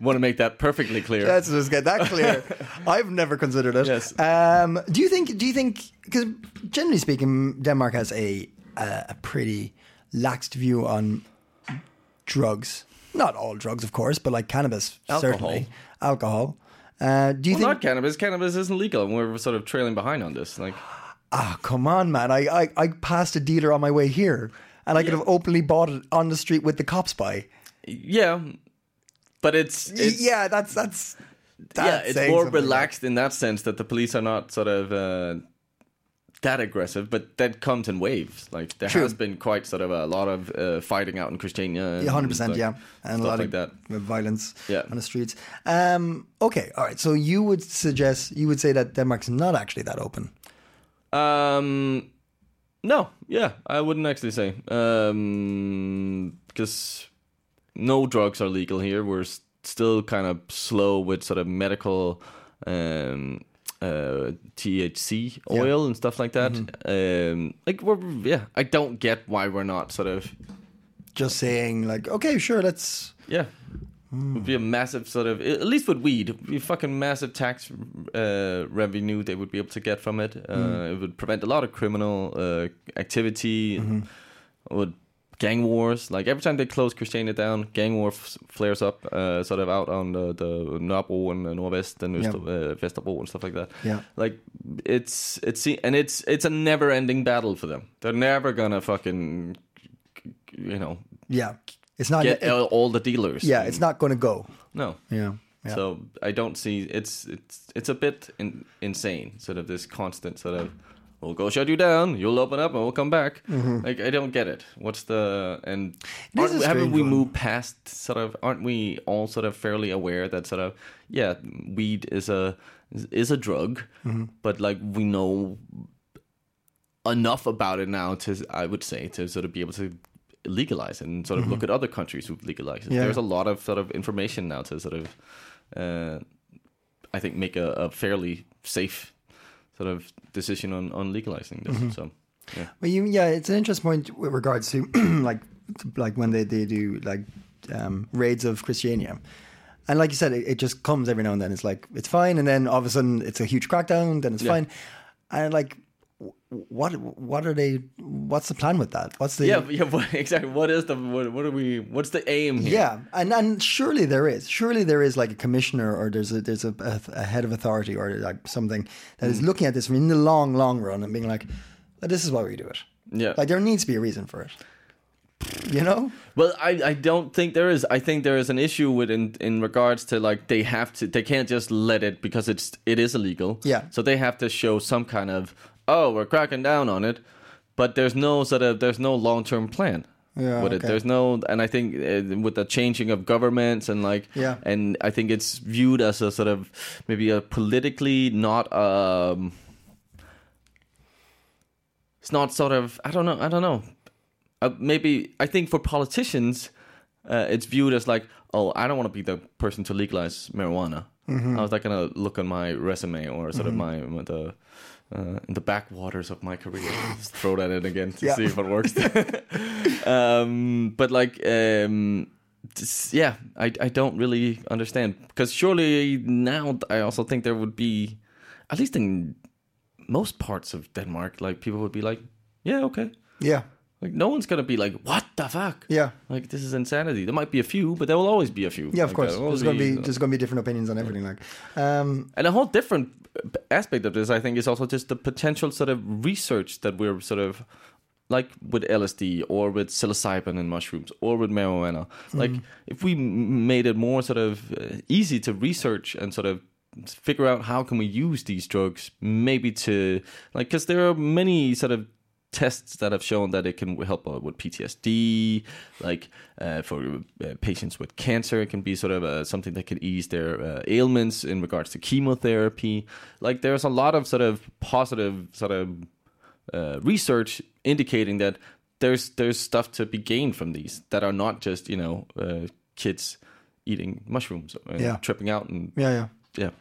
Speaker 3: Want to make that perfectly clear.
Speaker 2: Let's just get that clear. I've never considered it.
Speaker 3: Yes.
Speaker 2: Um, do you think? Do you think? Because generally speaking, Denmark has a a a pretty laxed view on drugs. Not all drugs, of course, but like cannabis,
Speaker 3: Alcohol.
Speaker 2: certainly alcohol. Uh, do you
Speaker 3: Well,
Speaker 2: think?
Speaker 3: not cannabis. Cannabis isn't legal, and we're sort of trailing behind on this. Like,
Speaker 2: Ah, come on, man! I, I I passed a dealer on my way here, and I could have openly bought it on the street with the cops by.
Speaker 3: yeah, but it's, it's
Speaker 2: yeah, that's that's. that's
Speaker 3: yeah, it's
Speaker 2: saying
Speaker 3: more
Speaker 2: something.
Speaker 3: relaxed in that sense that the police are not sort of uh, that aggressive, but that comes in waves. Like there
Speaker 2: True.
Speaker 3: has been quite sort of a lot of uh, fighting out in Christiania, and
Speaker 2: Yeah, hundred percent,
Speaker 3: stuff-
Speaker 2: yeah, and a
Speaker 3: stuff
Speaker 2: lot
Speaker 3: like
Speaker 2: of
Speaker 3: that.
Speaker 2: violence
Speaker 3: Yeah.
Speaker 2: on the streets. Um, okay, all right. So you would suggest you would say that Denmark's not actually that open.
Speaker 3: Um, no, yeah, I wouldn't actually say um because no drugs are legal here. We're s- still kind of slow with sort of medical um uh THC oil and stuff like that. Um, like we're yeah, I don't get why we're not sort of
Speaker 2: Just saying, like, okay, sure, let's.
Speaker 3: yeah.
Speaker 2: Hmm.
Speaker 3: Would be a massive sort of at least with weed, would be fucking massive tax uh, revenue they would be able to get from it. Uh,
Speaker 2: Hmm.
Speaker 3: It would prevent a lot of criminal uh, activity,
Speaker 2: Mm-hmm.
Speaker 3: would gang wars. Like every time they close Christiania down, gang war f- flares up, uh, sort of out on the, the Nørrebro and the Nordvest and Øster, uh, Vesterbro and stuff like that.
Speaker 2: Yeah.
Speaker 3: like it's it's and it's it's a never-ending battle for them. They're never gonna fucking you know
Speaker 2: Yeah, it's not.
Speaker 3: get
Speaker 2: it-
Speaker 3: all, all the dealers.
Speaker 2: yeah, it's not going to go.
Speaker 3: No.
Speaker 2: Yeah. yeah.
Speaker 3: So I don't see it's it's it's a bit in, insane. Sort of this constant sort of we'll go shut you down, you'll open up, and we'll come back. Like I don't get it. What's the and
Speaker 2: It is
Speaker 3: aren't
Speaker 2: a
Speaker 3: we- haven't
Speaker 2: strange
Speaker 3: we
Speaker 2: one.
Speaker 3: moved past sort of aren't we all sort of fairly aware that sort of yeah weed is a is a drug, but like we know enough about it now to I would say to sort of be able to legalize it and sort of look at other countries who've legalized it.
Speaker 2: Mm-hmm. Yeah.
Speaker 3: There's a lot of sort of information now to sort of uh, I think make a, a fairly safe sort of decision on on legalizing this.
Speaker 2: Mm-hmm.
Speaker 3: So yeah.
Speaker 2: Well, you, yeah, it's an interesting point with regards to like like when they, they do like um, raids of Christiania. And like you said, it, it just comes every now and then. It's like it's fine, and then all of a sudden it's a huge crackdown. Then it's fine, and like, w- what what are they? What's the plan with that? What's the
Speaker 3: Yeah, yeah, what, exactly. What is the what, what are we? What's the aim here?
Speaker 2: yeah, and and surely there is, surely there is like a commissioner or there's a there's a, a, a head of authority or like something that is looking at this in the long long run and being like, "Well, this is why we do it.
Speaker 3: Yeah.
Speaker 2: like there needs to be a reason for it. You know,
Speaker 3: Well, I, I don't think there is. I think there is an issue with in, in regards to like they have to they can't just let it because it's it is illegal.
Speaker 2: Yeah.
Speaker 3: So they have to show some kind of oh we're cracking down on it, but there's no sort of there's no long term plan.
Speaker 2: Yeah,
Speaker 3: with it.
Speaker 2: okay.
Speaker 3: There's no, and I think uh, with the changing of governments and like,
Speaker 2: Yeah.
Speaker 3: and I think it's viewed as a sort of maybe a politically not um, it's not sort of I don't know I don't know uh, maybe I think for politicians uh, it's viewed as like oh I don't want to be the person to legalize marijuana how's that gonna look on my resume or sort of my, my the uh, in the backwaters of my career Just throw that in again to
Speaker 2: Yeah.
Speaker 3: see if it works um, but like um, just- yeah I, I don't really understand because surely now I also think there would be at least in most parts of Denmark, like people would be like, "Yeah, okay."
Speaker 2: yeah,
Speaker 3: Like no one's gonna be like, "What the fuck?"
Speaker 2: Yeah.
Speaker 3: like this is insanity. There might be a few, but there will always be a few.
Speaker 2: yeah. Of
Speaker 3: Like,
Speaker 2: course,
Speaker 3: there'll
Speaker 2: there's
Speaker 3: always
Speaker 2: going to be there's going to be different opinions on everything. Like, um,
Speaker 3: and a whole different aspect of this, I think, is also just the potential sort of research that we're sort of like with LSD or with psilocybin and mushrooms or with marijuana.
Speaker 2: Mm-hmm.
Speaker 3: Like, if we m- made it more sort of uh, easy to research and sort of figure out how can we use these drugs, maybe to like, because there are many sort of tests that have shown that it can help uh, with PTSD, like uh, for uh, patients with cancer, it can be sort of uh, something that can ease their uh, ailments in regards to chemotherapy. Like there's a lot of sort of positive sort of uh, research indicating that there's there's stuff to be gained from these that are not just you know uh, kids eating mushrooms and
Speaker 2: Yeah.
Speaker 3: tripping out and
Speaker 2: Yeah, yeah.
Speaker 3: yeah.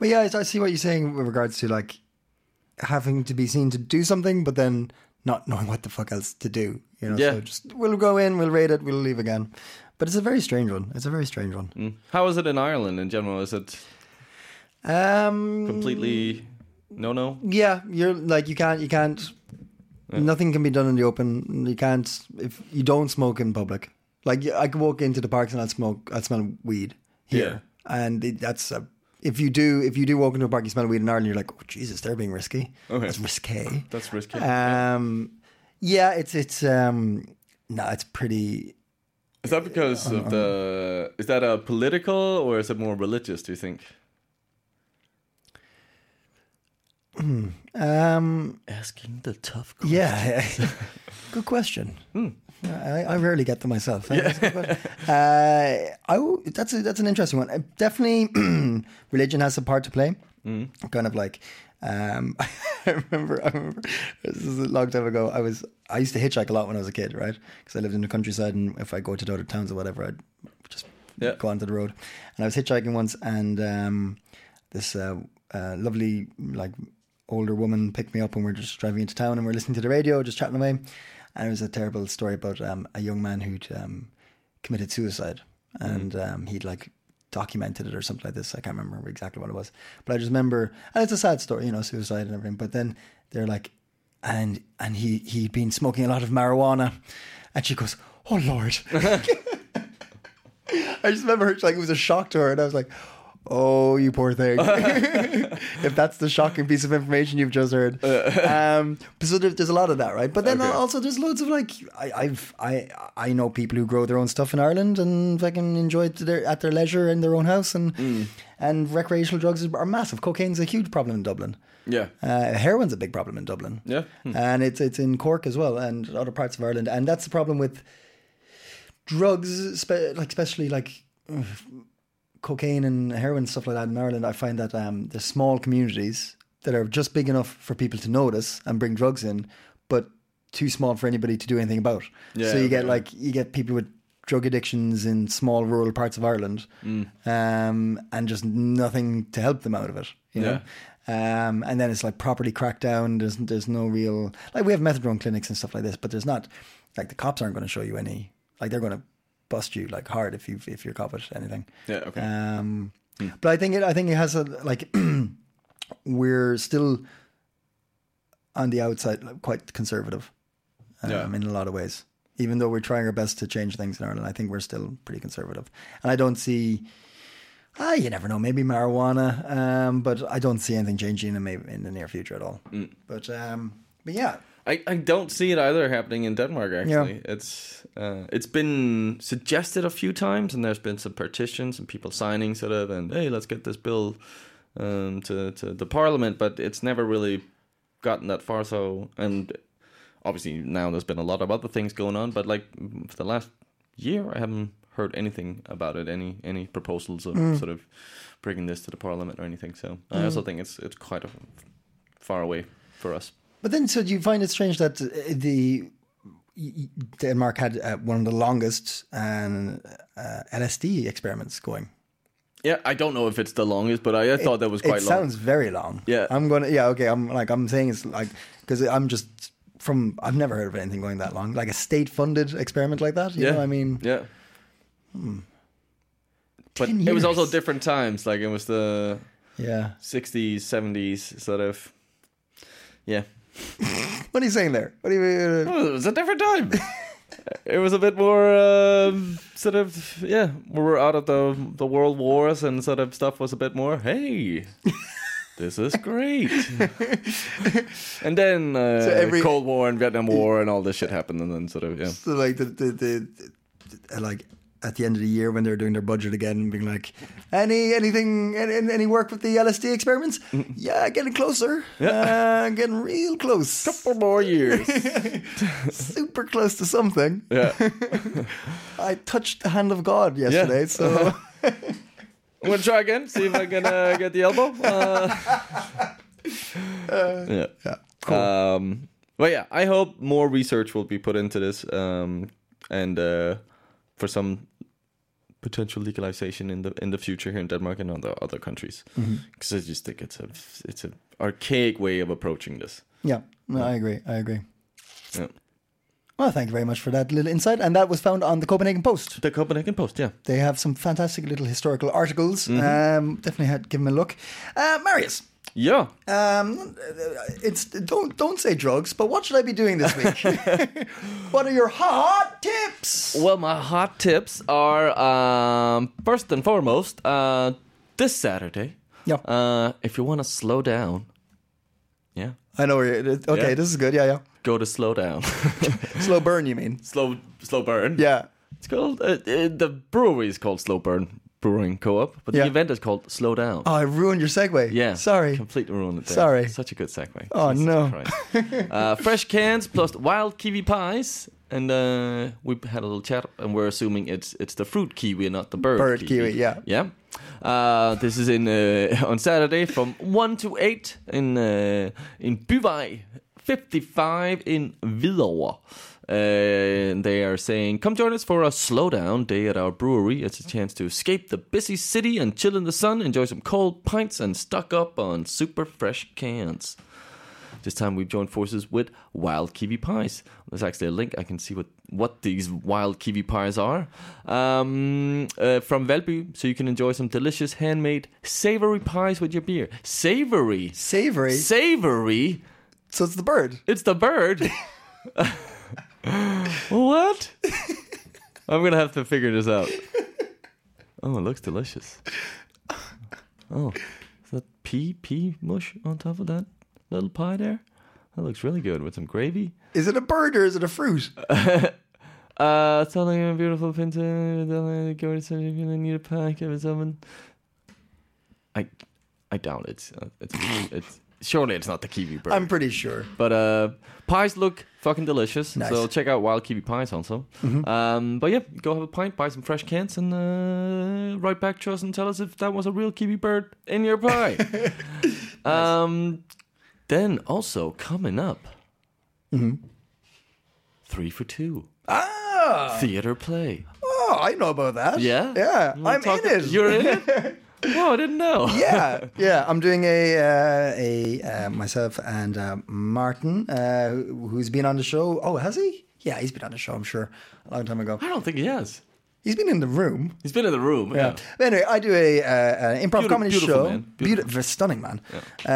Speaker 2: But yeah, I I see what you're saying with regards to like having to be seen to do something, but then not knowing what the fuck else to do. You know,
Speaker 3: Yeah.
Speaker 2: so just we'll go in, we'll rate it, we'll leave again. But it's a very strange one. It's a very strange one.
Speaker 3: Mm. How is it in Ireland in general? Is it
Speaker 2: Um,
Speaker 3: completely no no?
Speaker 2: yeah, you're like you can't, you can't. Nothing can be done in the open. You can't if you don't smoke in public. Like I could walk into the parks and I'd smoke, I'd smell weed here, and it, that's a. If you do, if you do walk into a park, you smell weed in Ireland. You're like, oh Jesus, they're being risky.
Speaker 3: Okay.
Speaker 2: That's risque.
Speaker 3: That's risky.
Speaker 2: Um, yeah, it's it's um, no, it's pretty.
Speaker 3: is that because of the is that a political or is it more religious, do you think?
Speaker 2: Um,
Speaker 3: Asking the tough
Speaker 2: yeah, good question. I, I rarely get them myself. That's a good question. uh, I w- that's a, that's an interesting one. Uh, definitely, religion has a part to play. Kind of like. Um, I remember, I remember, this is a long time ago. I was, I used to hitchhike a lot when I was a kid, right? Because I lived in the countryside, and if I go to the other towns or whatever, I'd just
Speaker 3: Yeah.
Speaker 2: go onto the road. And I was hitchhiking once, and um, this uh, uh, lovely, like, older woman picked me up, and we're just driving into town, and we're listening to the radio, just chatting away. And it was a terrible story about um, a young man who'd um, committed suicide, and um, he'd like documented it or something like this. I can't remember exactly what it was, but I just remember, and it's a sad story, you know, suicide and everything. But then they're like, and and he he'd been smoking a lot of marijuana, and she goes, "Oh Lord." I just remember her, like it was a shock to her, and I was like, "Oh, you poor thing." if that's the shocking piece of information you've just heard, um, so there, there's a lot of that, right? But then
Speaker 3: Okay.
Speaker 2: also there's loads of like I, I've I I know people who grow their own stuff in Ireland and fucking enjoy it to their, at their leisure in their own house, and and recreational drugs are massive. Cocaine's a huge problem in Dublin.
Speaker 3: Yeah.
Speaker 2: Uh, heroin's a big problem in Dublin.
Speaker 3: Yeah. Hmm.
Speaker 2: And it's it's in Cork as well and other parts of Ireland. And that's the problem with drugs, spe- like especially like uh, cocaine and heroin stuff like that in Ireland. I find that um, there's small communities that are just big enough for people to notice and bring drugs in, but too small for anybody to do anything about.
Speaker 3: Yeah,
Speaker 2: so you get
Speaker 3: yeah.
Speaker 2: like you get people with drug addictions in small rural parts of Ireland, um, and just nothing to help them out of it. You know? Um, and then it's like properly cracked down. There's there's no real like we have methadone clinics and stuff like this, but there's not like the cops aren't going to show you any like they're going to bust you like hard if you if you're caught with anything.
Speaker 3: Yeah, okay. Hmm.
Speaker 2: Um, But I think it I think it has a like we're still on the outside like, quite conservative um,
Speaker 3: Yeah.
Speaker 2: in a lot of ways. Even though we're trying our best to change things in Ireland, I think we're still pretty conservative. And I don't see, ah, you never know, maybe marijuana, um, but I don't see anything changing in, maybe in the near future at all.
Speaker 3: Hmm.
Speaker 2: But um, but yeah,
Speaker 3: I, I don't see it either happening in Denmark. Actually, it's uh, it's been suggested a few times, and there's been some petitions and people signing sort of, and hey, let's get this bill um, to to the parliament, but it's never really gotten that far. So, and obviously now there's been a lot of other things going on, but like mm, for the last year, I haven't heard anything about it, any any proposals of sort of bringing this to the parliament or anything. So, I also think it's it's quite a, far away for us.
Speaker 2: But then, so do you find it strange that uh, the Denmark had uh, one of the longest um, uh, LSD experiments going?
Speaker 3: Yeah, I don't know if it's the longest, but I, I thought that was quite
Speaker 2: it
Speaker 3: long.
Speaker 2: sounds very long.
Speaker 3: Yeah.
Speaker 2: I'm gonna. Yeah, okay. I'm like I'm saying it's like because I'm just from. I've never heard of anything going that long, like a state-funded experiment like that. You
Speaker 3: yeah,
Speaker 2: know what I mean,
Speaker 3: yeah. But
Speaker 2: 10
Speaker 3: it was also
Speaker 2: years.
Speaker 3: different times. Like it was the
Speaker 2: yeah.
Speaker 3: '60s, '70s, sort of. Yeah,
Speaker 2: What are you saying there? What are you? uh,
Speaker 3: it was a different time. it was a bit more um, sort of yeah. We were out of the the world wars and sort of stuff was a bit more. Hey. This is great, and then uh,
Speaker 2: every-
Speaker 3: Cold War and Vietnam War and all this shit happened, and then sort of yeah,
Speaker 2: So like the the, the, the- like at the end of the year when they're doing their budget again, being like, any anything any, any work with the LSD experiments? Yeah, getting closer. Uh, getting real close.
Speaker 3: couple more years.
Speaker 2: Super close to something.
Speaker 3: yeah,
Speaker 2: I touched the hand of God yesterday, so
Speaker 3: I'm gonna try again. See if I can uh, get the elbow. Uh, yeah. Uh, yeah. Cool. Um, but yeah, I hope more research will be put into this, um, and uh, for some potential legalization in the in the future here in Denmark and other other countries because I just think it's a it's a archaic way of approaching this.
Speaker 2: Yeah, no, I agree. I agree.
Speaker 3: Yeah.
Speaker 2: Well, thank you very much for that little insight. And that was found on the Copenhagen Post.
Speaker 3: The Copenhagen Post, yeah.
Speaker 2: They have some fantastic little historical articles. Um, definitely had give them a look. Uh, Marius,
Speaker 3: Yeah.
Speaker 2: um, it's don't don't say drugs, but what should I be doing this week? what are your hot tips?
Speaker 3: Well, my hot tips are um, first and foremost uh, this Saturday.
Speaker 2: Yeah.
Speaker 3: Uh, if you want to slow down, yeah,
Speaker 2: I know where you're. Okay,
Speaker 3: Yeah.
Speaker 2: this is good. Yeah, yeah.
Speaker 3: go to slow down.
Speaker 2: Slow burn, you mean?
Speaker 3: slow, slow burn.
Speaker 2: Yeah.
Speaker 3: It's called uh, uh, the brewery is called Slow Burn Brewing Co-op, but
Speaker 2: Yeah.
Speaker 3: the event is called Slow Down.
Speaker 2: Oh, I ruined your segue.
Speaker 3: Yeah.
Speaker 2: Sorry.
Speaker 3: Completely ruined it. There.
Speaker 2: Sorry.
Speaker 3: Such a good segue.
Speaker 2: Oh,
Speaker 3: Jesus
Speaker 2: no.
Speaker 3: Christ. uh, fresh cans plus wild kiwi pies. And uh, we had a little chat, and we're assuming it's it's the fruit kiwi, not the bird.
Speaker 2: Bird kiwi, yeah.
Speaker 3: yeah. Uh, this is in uh, on Saturday from one to eight in uh, in Byvej, fifty five in Hvidovre. Uh, they are saying, "Come join us for a slowdown day at our brewery. It's a chance to escape the busy city and chill in the sun, enjoy some cold pints, and stock up on super fresh cans." This time we've joined forces with Wild Kiwi Pies. There's actually a link. I can see what, what these Wild Kiwi Pies are. Um, uh, from Velby, so you can enjoy some delicious handmade savory pies with your beer. Savory.
Speaker 2: Savory.
Speaker 3: Savory?
Speaker 2: so it's the bird.
Speaker 3: It's the bird. what? I'm going to have to figure this out. Oh, it looks delicious. Oh, is that pea pea mush on top of that little pie there? That looks really good with some gravy.
Speaker 2: Is it a bird or is it a fruit?
Speaker 3: Uh, something a beautiful pinta. Going to say you're gonna need a pack of something. I, I doubt it's uh, it's it's surely it's not the kiwi bird.
Speaker 2: I'm pretty sure.
Speaker 3: But uh, pies look fucking delicious.
Speaker 2: Nice. Mm-hmm.
Speaker 3: So check out Wild Kiwi Pies also. Um, but yeah, go have a pint, buy some fresh cans, and uh, write back to us and tell us if that was a real kiwi bird in your pie. um, then also coming up,
Speaker 2: Mm-hmm.
Speaker 3: three for two
Speaker 2: Ah.
Speaker 3: theater play.
Speaker 2: Oh, I know about that.
Speaker 3: Yeah,
Speaker 2: Yeah.
Speaker 3: You wanna
Speaker 2: I'm
Speaker 3: talk-
Speaker 2: in it.
Speaker 3: You're in it. Whoa, I didn't know.
Speaker 2: yeah, yeah. I'm doing a uh, a uh, myself and uh, Martin, uh, who- who's been on the show. Oh, has he? Yeah, he's been on the show. I'm sure a long time ago.
Speaker 3: I don't think he has.
Speaker 2: He's been in the room.
Speaker 3: He's been in the room. Yeah.
Speaker 2: But anyway, I do a uh, an improv
Speaker 3: Beauti-
Speaker 2: comedy
Speaker 3: beautiful
Speaker 2: show.
Speaker 3: man.
Speaker 2: Beautiful, stunning man.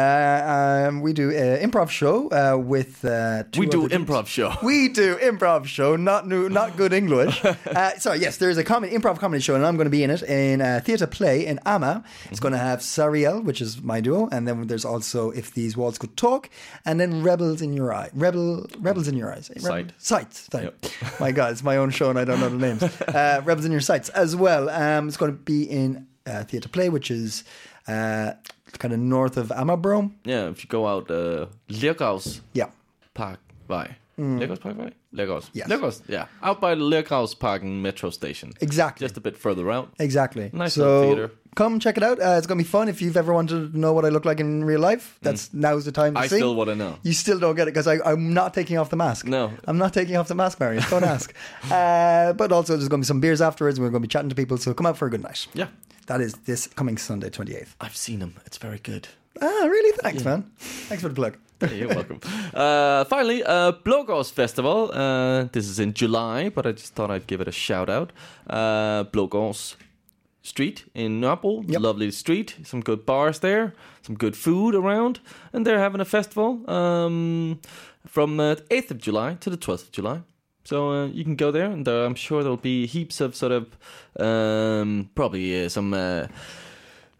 Speaker 2: Uh, um, we do an improv show uh, with. Uh, two
Speaker 3: We do
Speaker 2: other dudes.
Speaker 3: improv show.
Speaker 2: We do improv show, not new, not good English. Uh, sorry, yes, there is a comedy improv comedy show, and I'm going to be in it in a theatre play in Ama. It's going to have Sariel, which is my duo, and then there's also If These Walls Could Talk, and then Rebels in Your Eye, Rebel, Rebels in Your Eyes, Rebel-
Speaker 3: Sight.
Speaker 2: Sight. Sorry. my God, it's my own show, and I don't know the names. Uh, Rebels in Your Sights as well. Um, it's going to be in uh, theatre play, which is uh, kind of north of Amabro.
Speaker 3: Yeah, if you go out, uh, Lergaus
Speaker 2: Yeah.
Speaker 3: Parkvej. Mm. Parkvej? Lergaus.
Speaker 2: Yes.
Speaker 3: Lergaus, yeah. Out by the Lergaus Parken metro station.
Speaker 2: Exactly.
Speaker 3: Just a bit further out.
Speaker 2: Exactly.
Speaker 3: Nice
Speaker 2: so
Speaker 3: little theater.
Speaker 2: come check it out. Uh, it's gonna be fun. If you've ever wanted to know what I look like in real life, that's now's the time to
Speaker 3: Mm. I
Speaker 2: see.
Speaker 3: still wanna know.
Speaker 2: You still don't get it because I'm not taking off the mask.
Speaker 3: No.
Speaker 2: I'm not taking off the mask, Marius. Don't ask. Uh, but also, there's gonna be some beers afterwards, and we're gonna be chatting to people. So come out for a good night.
Speaker 3: Yeah.
Speaker 2: That is this coming Sunday, 28th.
Speaker 3: I've seen them. It's very good.
Speaker 2: Ah, really? Thanks, man. Thanks for the plug.
Speaker 3: Hey, you're welcome. Uh, finally, uh, Blogos Festival. Uh, this is in July, but I just thought I'd give it a shout out. Uh, Blogos Street in Naples,
Speaker 2: Yep.
Speaker 3: lovely street. Some good bars there, some good food around, and they're having a festival um, from uh, the 8th of July to the 12th of July. So uh, you can go there, and there, I'm sure there'll be heaps of sort of um, probably uh, some. Uh,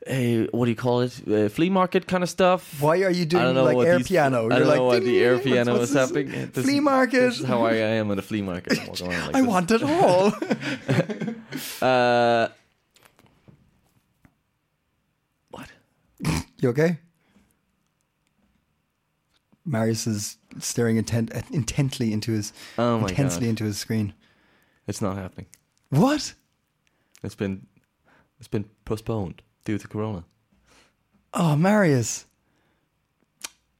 Speaker 3: eh, what do you call it? Uh, flea market kind of stuff.
Speaker 2: Why are you
Speaker 3: I
Speaker 2: doing
Speaker 3: don't know
Speaker 2: like
Speaker 3: what
Speaker 2: air
Speaker 3: these-
Speaker 2: piano?
Speaker 3: I
Speaker 2: You're
Speaker 3: don't
Speaker 2: like,
Speaker 3: know what the air
Speaker 2: "Ding,
Speaker 3: piano
Speaker 2: what's
Speaker 3: is
Speaker 2: this?
Speaker 3: happening. This
Speaker 2: Flea
Speaker 3: is-
Speaker 2: market.
Speaker 3: This is how I, I am at a flea market. I, walk around like
Speaker 2: I
Speaker 3: this.
Speaker 2: want it all.
Speaker 3: Uh, what?
Speaker 2: You okay? Marius is staring intent, intently into his
Speaker 3: Oh my
Speaker 2: intensely
Speaker 3: God.
Speaker 2: into his screen.
Speaker 3: It's not happening.
Speaker 2: What?
Speaker 3: It's been it's been postponed due to Corona.
Speaker 2: Oh, Marius.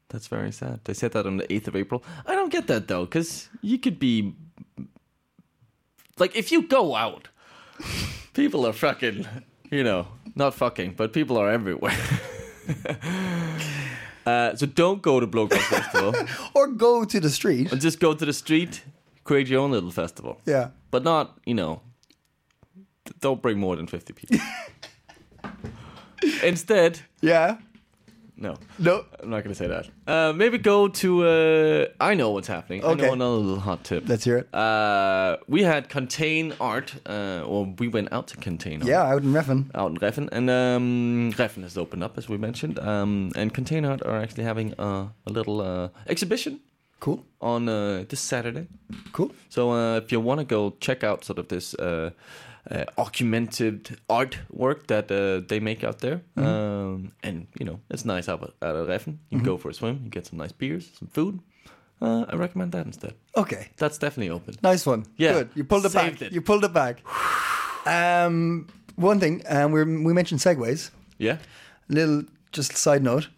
Speaker 3: That's very sad. They said that on the eighth of April. I don't get that though, because you could be like if you go out people are fucking, you know, not fucking, but people are everywhere. uh, so don't go to Blowcross Festival.
Speaker 2: Or go to the street.
Speaker 3: But just go to the street, create your own little festival.
Speaker 2: Yeah.
Speaker 3: But not, you know, d- don't bring more than 50 people. Instead,
Speaker 2: Yeah.
Speaker 3: no.
Speaker 2: No.
Speaker 3: I'm not going to say that. Uh, maybe go to. Uh, I know what's happening. I
Speaker 2: Okay.
Speaker 3: know another little hot tip.
Speaker 2: Let's hear it.
Speaker 3: Uh, we had Contain Art, uh, or we went out to Contain Art.
Speaker 2: yeah, out in Reffin.
Speaker 3: Out in Reffen, and um, Reffen has opened up as we mentioned, um, and Contain Art are actually having uh, a little uh, exhibition
Speaker 2: Cool.
Speaker 3: on uh, this Saturday.
Speaker 2: Cool.
Speaker 3: So uh, if you want to go check out sort of this uh, uh, augmented artwork that uh, they make out there,
Speaker 2: Mm-hmm.
Speaker 3: um, and you know it's nice out at at Reffen. You can
Speaker 2: Mm-hmm.
Speaker 3: go for a swim, you get some nice beers, some food. Uh, I recommend that instead.
Speaker 2: Okay.
Speaker 3: That's definitely open.
Speaker 2: Nice one.
Speaker 3: Yeah.
Speaker 2: Good. You pulled it
Speaker 3: Saved
Speaker 2: back.
Speaker 3: it.
Speaker 2: You pulled it back. Um, one thing, um, we we mentioned segways.
Speaker 3: Yeah,
Speaker 2: Little, just side note.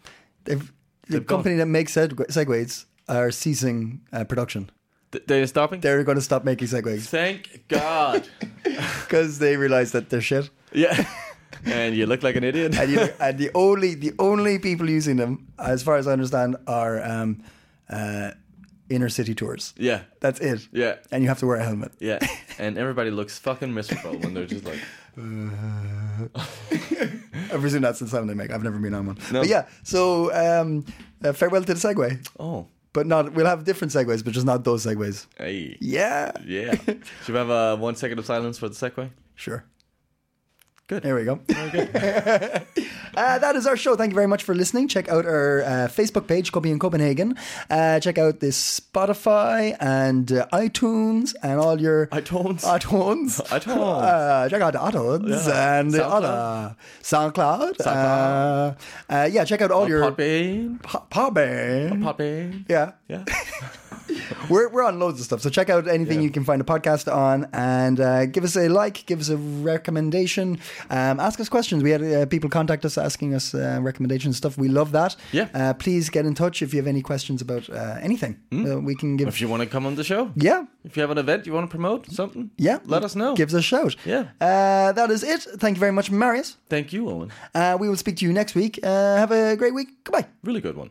Speaker 2: They've, the
Speaker 3: They've gone.
Speaker 2: company that makes seg- segways are ceasing uh, production.
Speaker 3: Th- they're stopping.
Speaker 2: They're going to stop making segways
Speaker 3: Thank God.
Speaker 2: because they realize that they're shit.
Speaker 3: yeah, and you look like an idiot.
Speaker 2: And, you, and the only the only people using them, as far as I understand, are um, uh, inner city tours.
Speaker 3: yeah,
Speaker 2: That's it.
Speaker 3: Yeah.
Speaker 2: And you have to wear a helmet.
Speaker 3: yeah, and everybody looks fucking miserable when they're just like.
Speaker 2: I've presume that's the sound they make. I've never been on one. But yeah, so um, uh, farewell to the segue.
Speaker 3: Oh,
Speaker 2: But not, we'll have different segues, but just not those segues.
Speaker 3: hey,
Speaker 2: Yeah.
Speaker 3: yeah. Should we have uh, one second of silence for the segue?
Speaker 2: Sure.
Speaker 3: Good.
Speaker 2: There we go. uh, that is our show. Thank you very much for listening. Check out our uh, Facebook page, Copy in Copenhagen. Uh, check out this Spotify and uh, iTunes and all your
Speaker 3: iTunes.
Speaker 2: iTunes.
Speaker 3: iTunes.
Speaker 2: Uh, check out iTunes
Speaker 3: Yeah.
Speaker 2: and the
Speaker 3: SoundCloud.
Speaker 2: other SoundCloud.
Speaker 3: SoundCloud.
Speaker 2: Uh, uh, yeah, check out all your
Speaker 3: Podbean.
Speaker 2: Po- Podbean.
Speaker 3: Podbean.
Speaker 2: yeah,
Speaker 3: Yeah.
Speaker 2: we're, we're on loads of stuff. So check out anything
Speaker 3: Yeah.
Speaker 2: you can find a podcast on and uh, give us a like, give us a recommendation, um, ask us questions. We had uh, people contact us asking us uh, recommendations and stuff. We love that.
Speaker 3: Yeah.
Speaker 2: Uh, please get in touch if you have any questions about uh, anything. Uh, we can give.
Speaker 3: Hmm. If you want to come on the show,
Speaker 2: yeah.
Speaker 3: if you have an event you want to promote, something,
Speaker 2: Yeah.
Speaker 3: let us know.
Speaker 2: Give us a shout.
Speaker 3: Yeah.
Speaker 2: Uh, that is it. Thank you very much, Marius.
Speaker 3: Thank you, Owen.
Speaker 2: Uh, we will speak to you next week. Uh, have a great week. Goodbye.
Speaker 3: Really good one.